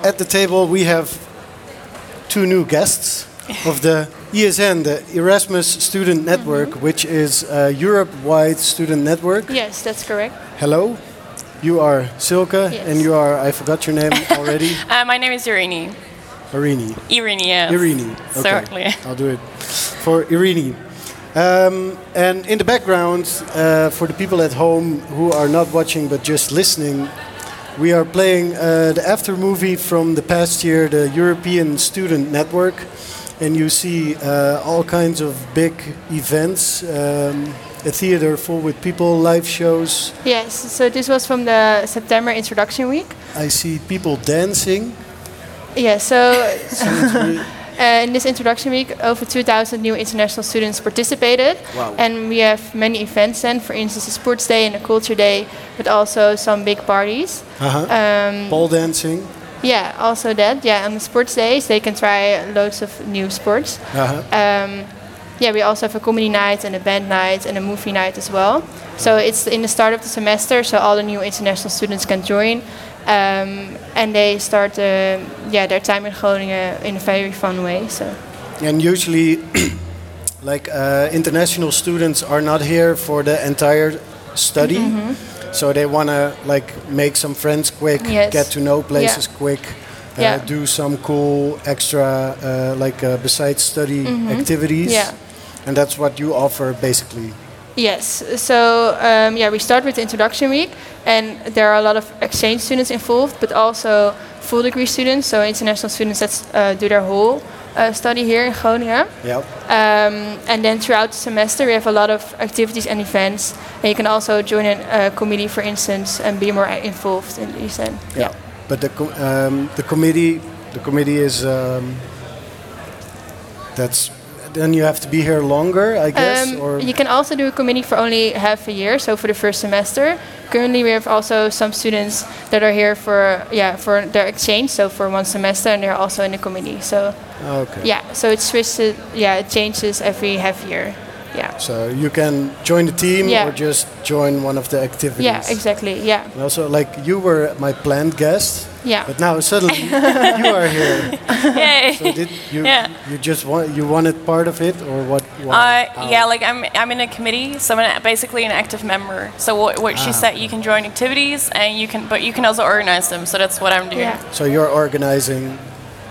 At the table, we have two new guests of the ESN, the Erasmus Student Network, which is a Europe-wide student network. Yes, that's correct. Hello, you are Silke, Yes. and you are—I forgot your name already. Uh, my name is Irini. Irini. Irini, yes. Irini. Okay. Certainly. I'll do it for Irini. Um, and in the background, uh, for the people at home who are not watching but just listening, we are playing uh, the after movie from the past year, the European Student Network. And you see uh, all kinds of big events, um, a theater full with people, live shows. Yes, so this was from the September introduction week. I see people dancing. Uh-huh. Yeah, so uh, in this introduction week, over 2,000 new international students participated. Wow. And we have many events then, for instance, a sports day and a culture day, but also some big parties. Uh-huh. Um, Ball dancing. yeah, also that. Yeah, on the sports days, they can try loads of new sports. Uh-huh. Um, yeah, we also have a comedy night and a band night and a movie night as well. So it's in the start of the semester, so all the new international students can join. Um, and they start uh, yeah, their time in Groningen in a very fun way. So And usually, like uh, international students are not here for the entire study, so they want to like make some friends quick, Mm-hmm. Yes. get to know places quick, uh, Yeah. do some cool extra uh, like uh, besides study activities, Mm-hmm. Yeah. and that's what you offer basically. Yes. So um, yeah, we start with the introduction week, and there are a lot of exchange students involved, but also full degree students, so international students that uh, do their whole uh, study here in Groningen. Yeah. Um, and then throughout the semester, we have a lot of activities and events, and you can also join a uh, committee, for instance, and be more involved in the event. Yeah, but the com- um, the committee the committee is um, that's then you have to be here longer, I guess, Um, or you can also do a committee for only half a year, so for the first semester. Currently, we have also some students that are here for yeah for their exchange, so for one semester, and they're also in the committee. So ah, okay. yeah, so it switches, yeah, it changes every half year. Yeah, So you can join the team Yeah. or just join one of the activities. yeah, exactly. Yeah, And also, like you were my planned guest, yeah. but now suddenly you are here. So did you Yeah. you just want you wanted part of it or what? why? Uh, yeah, like I'm, I'm in a committee, so I'm an, basically an active member. So what, what she said, you can join activities, and you can, but you can also organize them. So that's what I'm doing. yeah. So you're organizing.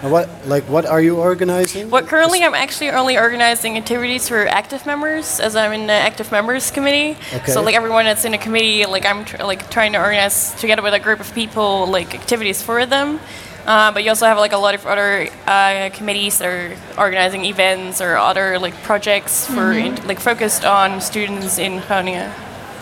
And what like what are you organizing? What currently I'm actually only organizing activities for active members, as I'm in the active members committee. Okay. So like everyone that's in a committee, like I'm tr- like trying to organize together with a group of people like activities for them. Uh, but you also have like a lot of other uh, committees that are organizing events or other like projects for Mm-hmm. in- like focused on students in Groningen.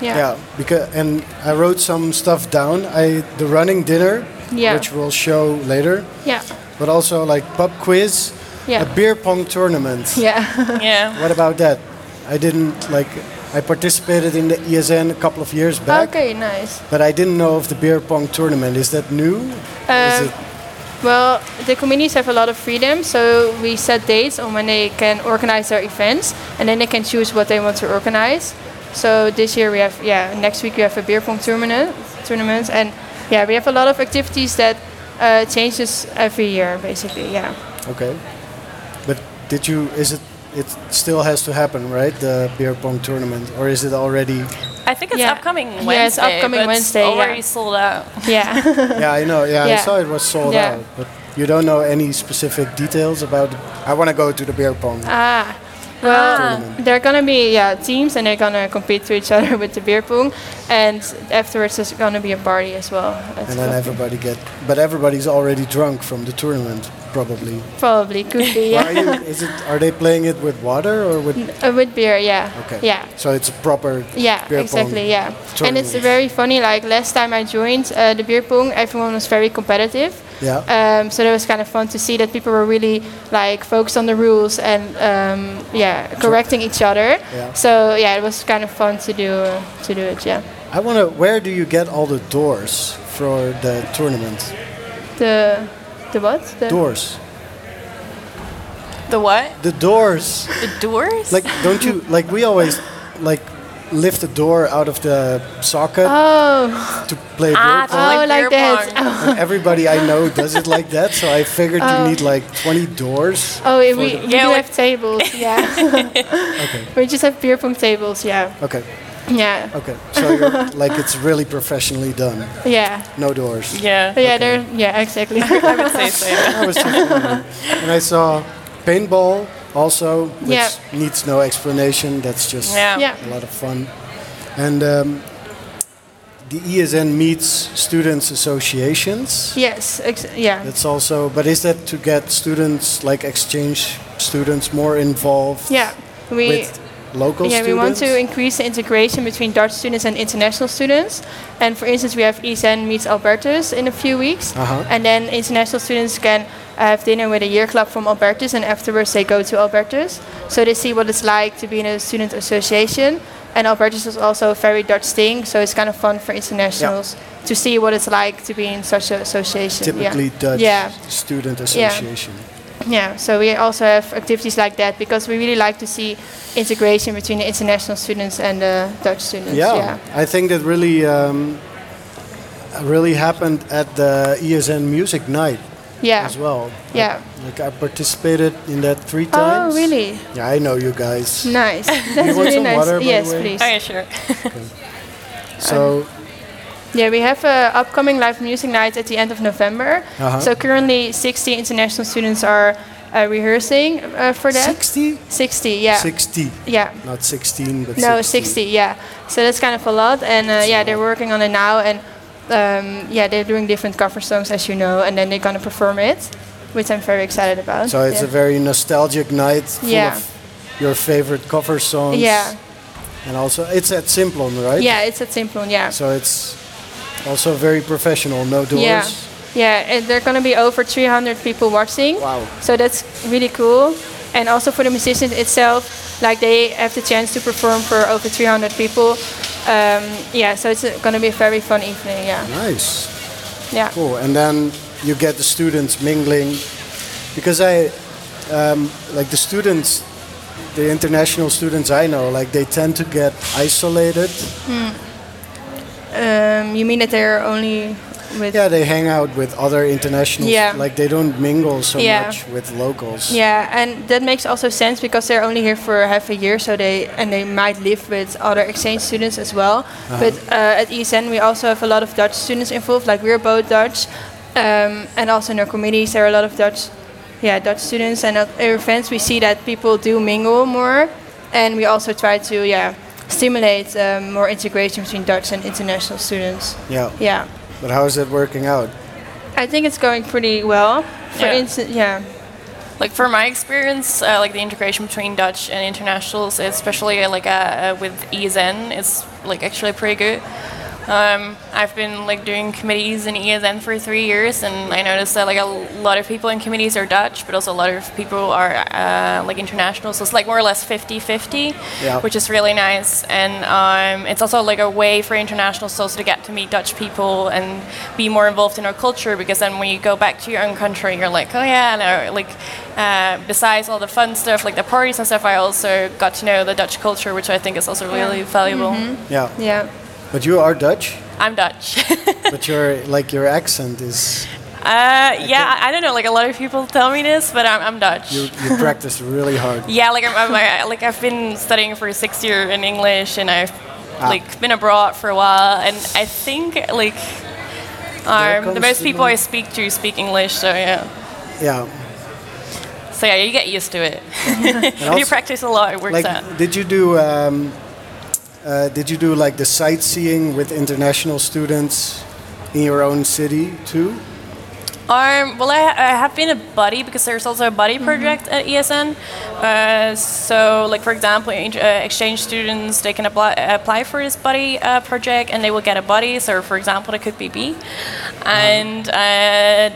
yeah. Yeah, because and I wrote some stuff down. I the running dinner, Yeah. which we'll show later, Yeah. but also like pub quiz, Yeah. a beer pong tournament. Yeah. Yeah. What about that? I didn't like. I participated in the ESN a couple of years back, Okay, nice. but I didn't know of the beer pong tournament. Is that new? Is Um, it, Well, the committees have a lot of freedom, so we set dates on when they can organize their events, and then they can choose what they want to organize. So this year we have, yeah, next week we have a beer pong tournament, tournament, and yeah, we have a lot of activities that uh, changes every year, basically. Yeah. okay, but did you? Is it? It still has to happen, right? The beer pong tournament, or is it already? I think it's Yeah. upcoming Wednesday. Yeah, it's upcoming but Wednesday, It's already yeah. sold out. Yeah. yeah, I know. Yeah, I Yeah. saw it was sold Yeah. out, but you don't know any specific details about. I want to go to the beer pong. Ah, well, they're gonna be yeah teams, and they're gonna compete to each other with the beer pong, and afterwards there's gonna be a party as well. It's and then everybody get, but everybody's already drunk from the tournament, probably. probably could be Are, yeah. you, is it, are they playing it with water or with? Uh, with beer, yeah. Okay. Yeah. So it's a proper. Yeah, beer exactly. pong Yeah, and it's tournament. very funny. Like last time I joined uh, the beer pong, everyone was very competitive. Yeah. Um, so that was kind of fun to see that people were really like focused on the rules and um, yeah, correcting each other. Yeah. So yeah, it was kind of fun to do uh, to do it. Yeah. I want to. Where do you get all the doors for the tournament? The the what? The Doors. The what? The doors. The doors? Like, don't you like? We always like lift the door out of the socket Oh, to play beer Ah, pong. Oh, like, like beer that. pong. And everybody I know does it like that, so I figured you need like 20 doors. Oh, we, we do Yeah, like- have tables. Yeah, Okay, we just have beer pong tables. Yeah, okay, yeah, okay. So you're like it's really professionally done. yeah. No doors. Yeah, But yeah, there. Yeah, exactly. I would say so. yeah. I was just wondering. and I saw paintball also, which Yeah. needs no explanation. That's just Yeah. yeah, a lot of fun. And um, the ESN meets students associations. yes, ex- yeah, That's also, but is that to get students, like exchange students, more involved yeah. We with local yeah, students? we want to increase the integration between Dutch students and international students. And for instance, we have ESN meets Albertus in a few weeks, Uh-huh. and then international students can have dinner with a year club from Albertus, and afterwards they go to Albertus, so they see what it's like to be in a student association. And Albertus is also a very Dutch thing, so it's kind of fun for internationals to see what it's like to be in such an association. Yeah. Typically Dutch Yeah. student association. Yeah, so we also have activities like that because we really like to see integration between the international students and the Dutch students. Yeah, yeah. I think that really, um, really happened at the ESN Music Night Yeah. as well. Yeah. Like I participated in that three Oh, times. really? Yeah, I know you guys. Nice. That's want really some nice. water, by the yes, way? please. Oh, yeah, sure. So Yeah, we have an upcoming live music night at the end of November. Uh-huh. So currently, 60 international students are uh, rehearsing uh, for that. 60? 60, yeah. 60. Yeah. Not 16, but No, 60. 60, yeah. So that's kind of a lot. And uh, yeah, they're working on it now. And um, yeah, they're doing different cover songs, as you know. And then they're going to perform it, which I'm very excited about. So it's yeah. a very nostalgic night full Yeah. of your favorite cover songs. Yeah. And also, it's at Simplon, right? Yeah, it's at Simplon, yeah. So it's also very professional, no doors. yeah. Yeah, and there are going to be over 300 people watching. Wow. So that's really cool. And also for the musicians itself, like they have the chance to perform for over 300 people. Um, yeah, so it's going to be a very fun evening, yeah. Nice. Yeah. Mm-hmm. Cool. And then you get the students mingling. Because I, um, like the students, the international students I know, like they tend to get isolated. Um, you mean that they're only with Yeah, they hang out with other internationals. Yeah. Like they don't mingle so Yeah. much with locals. Yeah, and that makes also sense because they're only here for half a year, so they and they might live with other exchange students as well. But uh, at ESN, we also have a lot of Dutch students involved. Like we're both Dutch, um, and also in our committees, there are a lot of Dutch, yeah, Dutch students. And at our events, we see that people do mingle more, and we also try to yeah stimulate um, more integration between Dutch and international students. Yeah. Yeah, But how is that working out? I think it's going pretty well. For Yeah. instance, yeah. Like from my experience, uh, like the integration between Dutch and internationals, especially uh, like uh, uh, with ESN, is like actually pretty good. Um, I've been like doing committees in ESN for three years, and I noticed that like a lot of people in committees are Dutch, but also a lot of people are uh, like international. So it's like more or less 50-50, Yeah. which is really nice. And um, it's also like a way for internationals also to get to meet Dutch people and be more involved in our culture. Because then when you go back to your own country, you're like, oh yeah, no. Like uh, besides all the fun stuff, like the parties and stuff, I also got to know the Dutch culture, which I think is also really valuable. Yeah. Yeah. But you are Dutch, I'm Dutch. but your like your accent is Uh, yeah, I I don't know. Like a lot of people tell me this, but I'm, I'm Dutch. you, you practice really hard. yeah, like I'm, I'm I- like I've been studying for six years in English, and I've Ah. like been abroad for a while, and I think like um, the comes most the people I noise. speak to speak English. So yeah, Yeah. so yeah, you get used to it. if also- you practice a lot, it works Like out. did you do um, uh, did you do like the sightseeing with international students in your own city too? Um, well, I, I have been a buddy because there's also a buddy project at ESN. Uh, so, like for example, in- uh, exchange students they can apply apply for this buddy uh, project and they will get a buddy. So, for example, it could be B, and uh,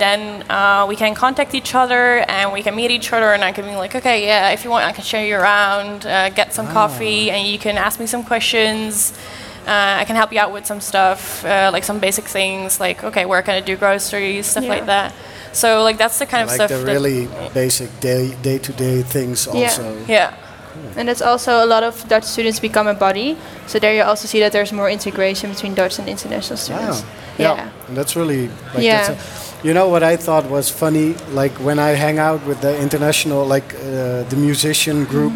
then uh, we can contact each other and we can meet each other. And I can be like, okay, yeah, if you want, I can show you around, uh, get some coffee, and you can ask me some questions. Uh, I can help you out with some stuff, uh, like some basic things, like okay, where can I do groceries, stuff Yeah. like that. So like that's the kind of Like stuff. the that- really basic day day to day things Yeah. also. yeah. And that's also a lot of Dutch students become a body. So there you also see that there's more integration between Dutch and international students. Wow. Yeah. And that's really like Yeah. that's a, you know what I thought was funny like when I hang out with the international like uh, the musician group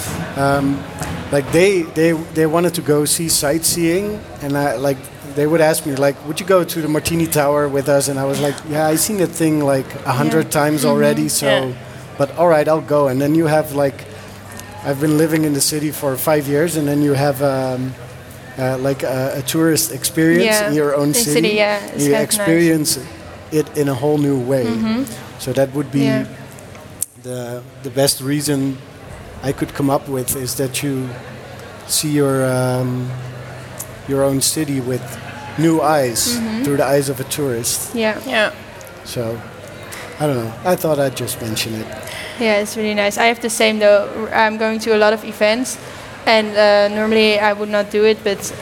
Mm-hmm. um, like they they they wanted to go see sightseeing and I like they would ask me like would you go to the Martini Tower with us and I was like yeah I seen that thing like a hundred times Mm-hmm. already so Yeah. but all right I'll go and then you have like I've been living in the city for five years and then you have um, uh, like a, a tourist experience Yeah. in your own In city, city, yeah, it's you kind of nice. experience it in a whole new way so that would be Mm-hmm. Yeah. the the best reason I could come up with is that you see your um, your own city with new eyes Mm-hmm. through the eyes of a tourist Yeah. Yeah. so I don't know I thought I'd just mention it Yeah, it's really nice. I have the same though. R- I'm going to a lot of events, and uh, normally I would not do it, but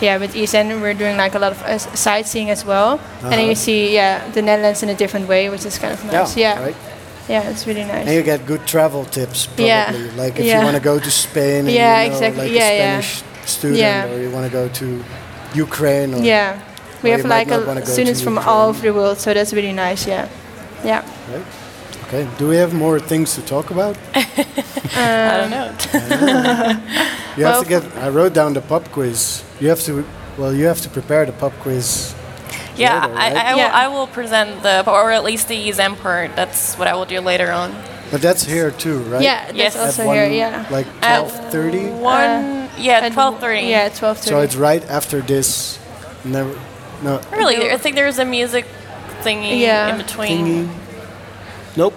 yeah, with ESN we're doing like a lot of uh, s- sightseeing as well, and then Uh-huh. you see yeah the Netherlands in a different way, which is kind of nice. Yeah, yeah, right it's really and nice. you get good travel tips probably Yeah. like if you Yeah. want to go to Spain and Yeah, you know, exactly. like Yeah, a yeah. Spanish student Yeah. or you want to go to Ukraine or Yeah, we Well, have you might like not wanna a, go students to from Ukraine. all over the world, so that's really nice. Yeah, yeah. Right? Okay. Do we have more things to talk about? I don't know. You have to Well, get. I wrote down the pub quiz. You have to. Well, you have to prepare the pub quiz. yeah, later, I, right? I, will, Yeah. I will present the, or at least the exam part. That's what I will do later on. But that's here too, right? Yeah, that's Yes. At At also one, here. Yeah. Like At twelve thirty. One, Uh, yeah, At- twelve thirty. Yeah, twelve thirty. So it's right after this. Never. No. Really, I think there's a music thingy Yeah. in between. Thingy. Nope.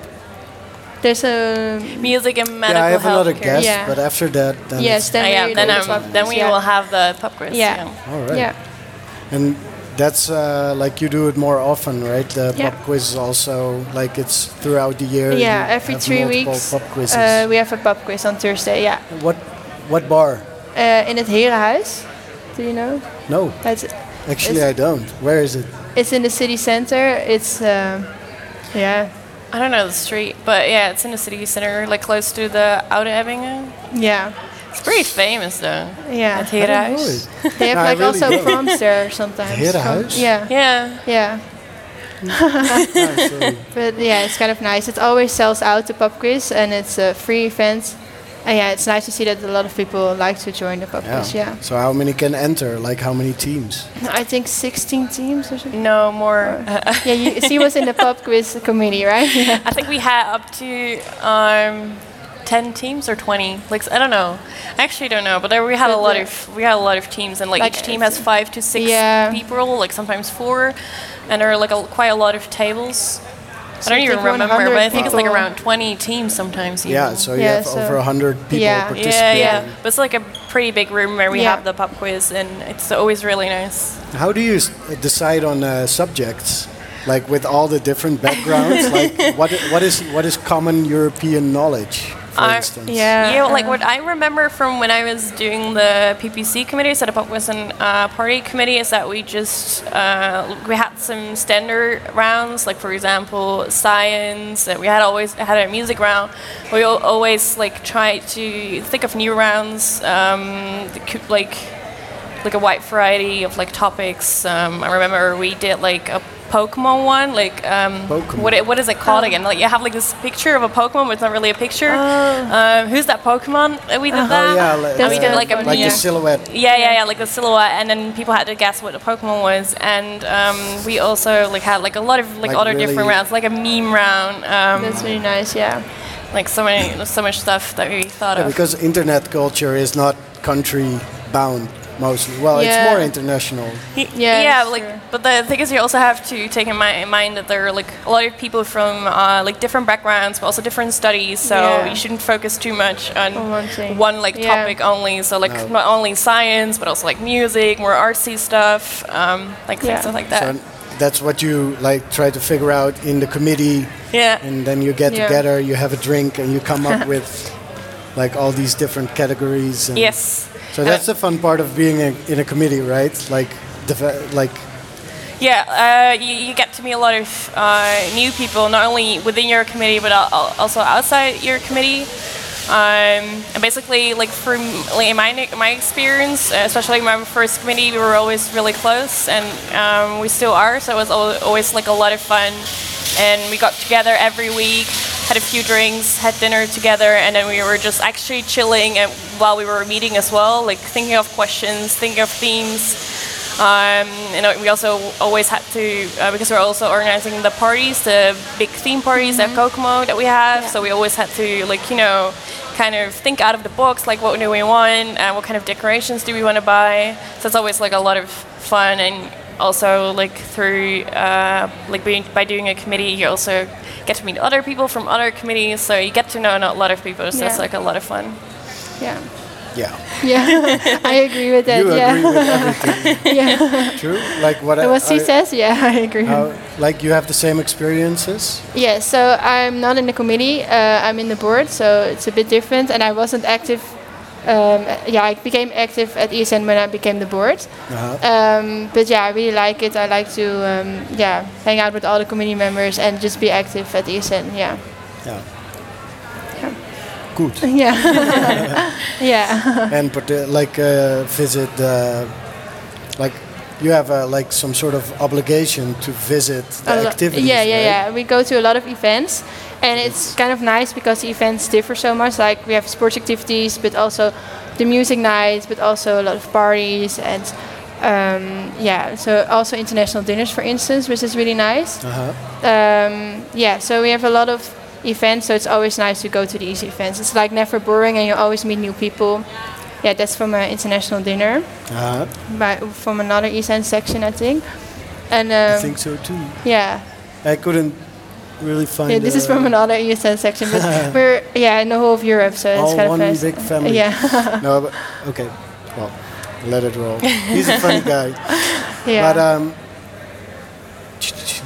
There's a Music and medical Yeah, I have health another care. guest, Yeah. but after that, then. it's- yes. Then, Oh, yeah, we then, do um, twelve then thirties, we yeah. will have the pub quiz. Yeah. All right. Yeah. And that's uh, like you do it more often, right? The Yeah. pub quiz is also like it's throughout the year. Yeah, you every have three multiple weeks Pub quizzes. uh, we have a pub quiz on Thursday. Yeah, what? What bar? uh, in het Herenhuis. Do you know? No. That's Actually, Is- I don't. Where is it? it's in the city center. It's um, yeah, I don't know the street, but yeah, it's in the city center, like close to the Oude Ebbingen. yeah, It's pretty famous though. yeah. At Oh, Heerhuis. Good. They have No, I like really also don't. proms there sometimes. Herenhuis? Prom- Yeah, Yeah. yeah. Ah, sorry. But yeah, it's kind of nice. It always sells out the pub quiz, and it's a free event. And yeah, it's nice to see that a lot of people like to join the pub quiz. Yeah, So how many can enter? Like how many teams? I think 16 teams or something. No more. Uh, Yeah, you, she was in the pub quiz committee, right? Yeah. I think we had up to um, ten teams or twenty. Like I don't know. I actually don't know, but there we had a But, lot yeah. of we had a lot of teams, and like, Like, each team has five to six Yeah. people, like sometimes four, and there are like a, quite a lot of tables. I don't it's even like remember, but I 100 think it's like people. around twenty teams sometimes. Even. Yeah. So you Yeah, have so- over hundred people Yeah. participating. Yeah, yeah. But it's like a pretty big room where we Yeah. have the pub quiz, and it's always really nice. How do you s- decide on uh, subjects? Like with all the different backgrounds, like what i- what is what is common European knowledge, for Uh, instance? Yeah, Yeah, like uh, what I remember from when I was doing the PPC committee, so the Pop was an uh, party committee, is that we just uh, we had some standard rounds, like for example science. And we had always had a music round. We al- always like tried to think of new rounds, um, that could, like like a wide variety of like topics. Um, I remember we did like a Pokemon one, like um, Pokemon. what it, what is it called again? Like you have like this picture of a Pokemon, but it's not really a picture. Um, who's that Pokemon? Uh, We did that. Oh yeah, li- and we uh, did like a like yeah. the silhouette. yeah, yeah, yeah, like the silhouette, and then people had to guess what the Pokemon was, and um, we also like had like a lot of like, Like other really- different rounds, like a meme round, um, That's really nice, yeah. like so many, so much stuff that we thought Yeah, of. because internet culture is not country bound mostly. Well, it's Yeah. more international. Y- Yeah, yeah, that's like, true. but the thing is, you also have to take in, mi- in mind that there are like a lot of people from uh, like different backgrounds, but also different studies. So Yeah. you shouldn't focus too much on On one thing. one, like Yeah. topic only. So like No. not only science, but also like music, more artsy stuff, um, like Yeah. things stuff like that. So that's what you like try to figure out in the committee, yeah, and then you get Yeah. together, you have a drink, and you come up with like all these different categories. And yes. Uh, So And- that's the fun part of being a, in a committee, right? Like, deve- like Yeah, uh, you, you get to meet a lot of uh, new people, not only within your committee, but al- al- also outside your committee. Um, and basically, like from like, in my my experience, uh, especially in my first committee, we were always really close, and um, we still are. So it was al- always like a lot of fun, and we got together every week, had a few drinks, had dinner together, and then we were just actually chilling and while we were meeting as well, like thinking of questions, thinking of themes. Um, and uh, we also always had to, uh, because we're also organizing the parties, the big theme parties at Kokomo that we have. So we always had to, like, you know, kind of think out of the box, like, what do we want? Uh, what kind of decorations do we want to buy? So it's always like a lot of fun. And also, like, through, uh, like, being, by doing a committee, you also get to meet other people from other committees. So you get to know a lot of people. So it's Yeah. like a lot of fun. Yeah. Yeah. Yeah. I agree Uh, with that. You yeah. agree with everything. yeah. True? Like what I- What she I- says, E yeah, I agree. how- like you have the same experiences? Yeah, so I'm not in the committee. Uh, I'm in the board, so it's a bit different. And I wasn't active. Um, yeah, I became active at ESN when I became the board. Uh-huh. Um, but yeah, I really like it. I like to um, yeah hang out with all the committee members and just be active at ESN. Yeah, Yeah. Yeah. Good. yeah, yeah, and but uh, like uh, visit the like you have uh, like some sort of obligation to visit the A lo- activities. yeah, yeah, right? yeah. We go to a lot of events, and it's kind of nice because the events differ so much. Like we have sports activities, but also the music nights, but also a lot of parties and. Um, yeah, so also international dinners, for instance, which is really nice. Uh-huh. um, yeah, so we have a lot of events, so it's always nice to go to these events. It's like never boring, and you always meet new people. Yeah, that's from an international dinner, Uh-huh. by, from another ESN section, I think. And I um, think so too. yeah, I couldn't really find. yeah, this is uh, from another ESN section, but we're yeah in the whole of Europe, so it's all kind one of fast. big family. Yeah, no, but, okay. Well, let it roll. He's a funny guy, yeah. but um.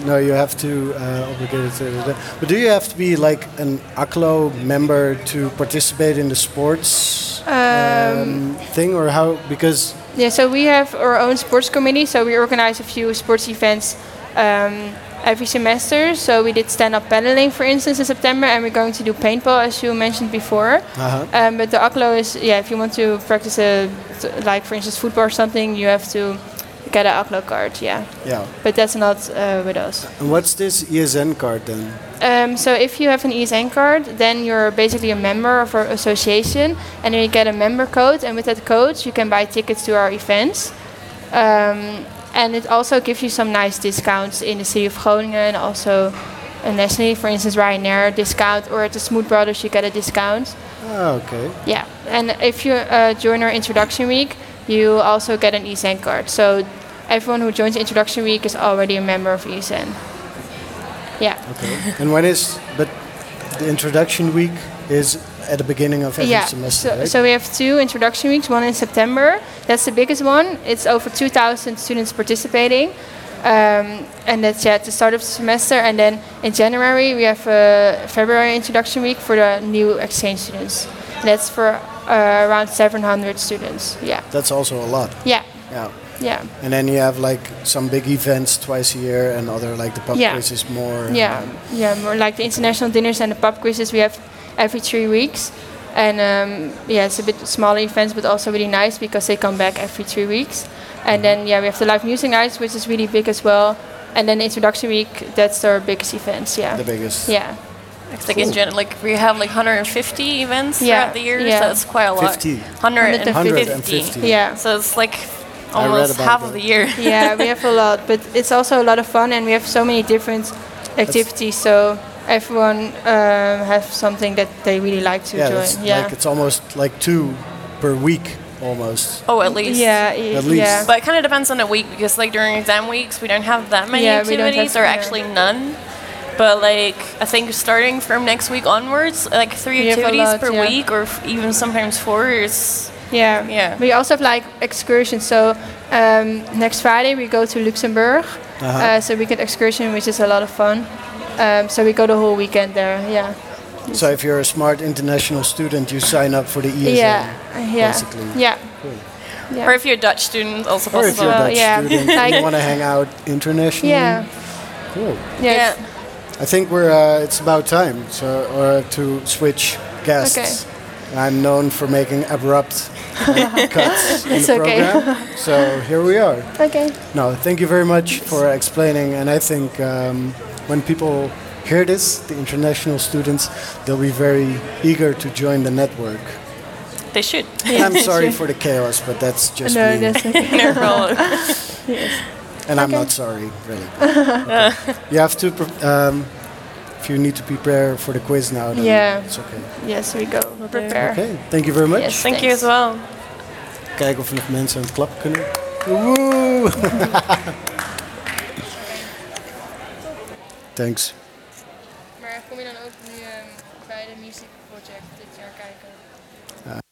No, you have to uh, obligate it. to- But do you have to be like an ACLO member to participate in the sports um, thing, or how? Because Yeah, so we have our own sports committee, so we organize a few sports events um, every semester. So we did stand up paddling, for instance, in September, and we're going to do paintball, as you mentioned before. Uh-huh. Um, but the ACLO is, yeah, if you want to practice, a, t- like for instance, football or something, you have to get an ACLO card, yeah. Yeah. But that's not uh, with us. And what's this ESN card then? Um, so if you have an ESN card, then you're basically a member of our association, and then you get a member code, and with that code you can buy tickets to our events. Um, and it also gives you some nice discounts in the city of Groningen, and also uh, nationally, for instance, Ryanair discount, or at the Smoot Brothers you get a discount. Ah, okay. Yeah, and if you uh, join our introduction week, you also get an E ESN card. So everyone who joins introduction week is already a member of ESN. Yeah. Okay. and when is but the introduction week is at the beginning of every yeah, semester, so, right? so we have two introduction weeks, one in September. That's the biggest one. It's over 2,000 students participating. Um, and that's yeah, at the start of the semester. And then in January, we have a February introduction week for the new exchange students. That's for uh, around 700 students. Yeah. That's also a lot. Yeah. Yeah. Yeah. And then you have like some big events twice a year, and other like the pub Yeah. quiz is more. Yeah, yeah, more like the international dinners and the pub quizzes we have every three weeks. And um, yeah, it's a bit smaller events, but also really nice because they come back every three weeks. And then yeah, we have the live music nights, which is really big as well. And then introduction week, that's our biggest events. Yeah, The biggest. yeah, It's like in gen- like we have like 150 events Yeah, throughout the year, yeah. so it's quite a lot. 50. 150. 150. yeah. So it's like read almost about half that. of the year. yeah, we have a lot, but it's also a lot of fun, and we have so many different activities. So everyone um, has something that they really like to Yeah. that's join. Yeah, Like it's almost like two per week, almost. Oh, at least. yeah, At yeah. least. But it kind of depends on the week because like during exam weeks we don't have that many Yeah, we don't have- activities or yeah. actually none. But like I think starting from next week onwards, like three We have a activities lot, per yeah. week or f- even sometimes four is Yeah. Yeah. We also have like excursions. So um, next Friday we go to Luxembourg. uh so we get excursion, which is a lot of fun. Um, so we go the whole weekend there. Yeah. So if you're a smart international student, you sign up for the ESN. yeah. Yeah. basically. Yeah. Yeah. or if you're a Dutch student also Or if possible. you're a Well, Dutch yeah. student and you Like- want to hang out internationally. Yeah. Cool. Yes. Yeah. I think we're. Uh, it's about time so, uh, to switch guests. Okay. I'm known for making abrupt uh, cuts in It's the okay. program. So here we are. Okay. No, thank you very much for explaining. And I think um, when people hear this, the international students, they'll be very eager to join the network. They should. I'm sorry for the chaos, but that's just No, me. that's okay. No problem. and I'm okay. not sorry, really. Okay. you have to, pre- um, if you need to prepare for the quiz now, then Yeah. it's okay. Yes, we go. Prepare. Okay, thank you very much. Yes. Thank you as well. Kijken of nog mensen een klap kunnen. Woe! Thanks. Maar kom je dan ook nu bij de music project dit jaar kijken?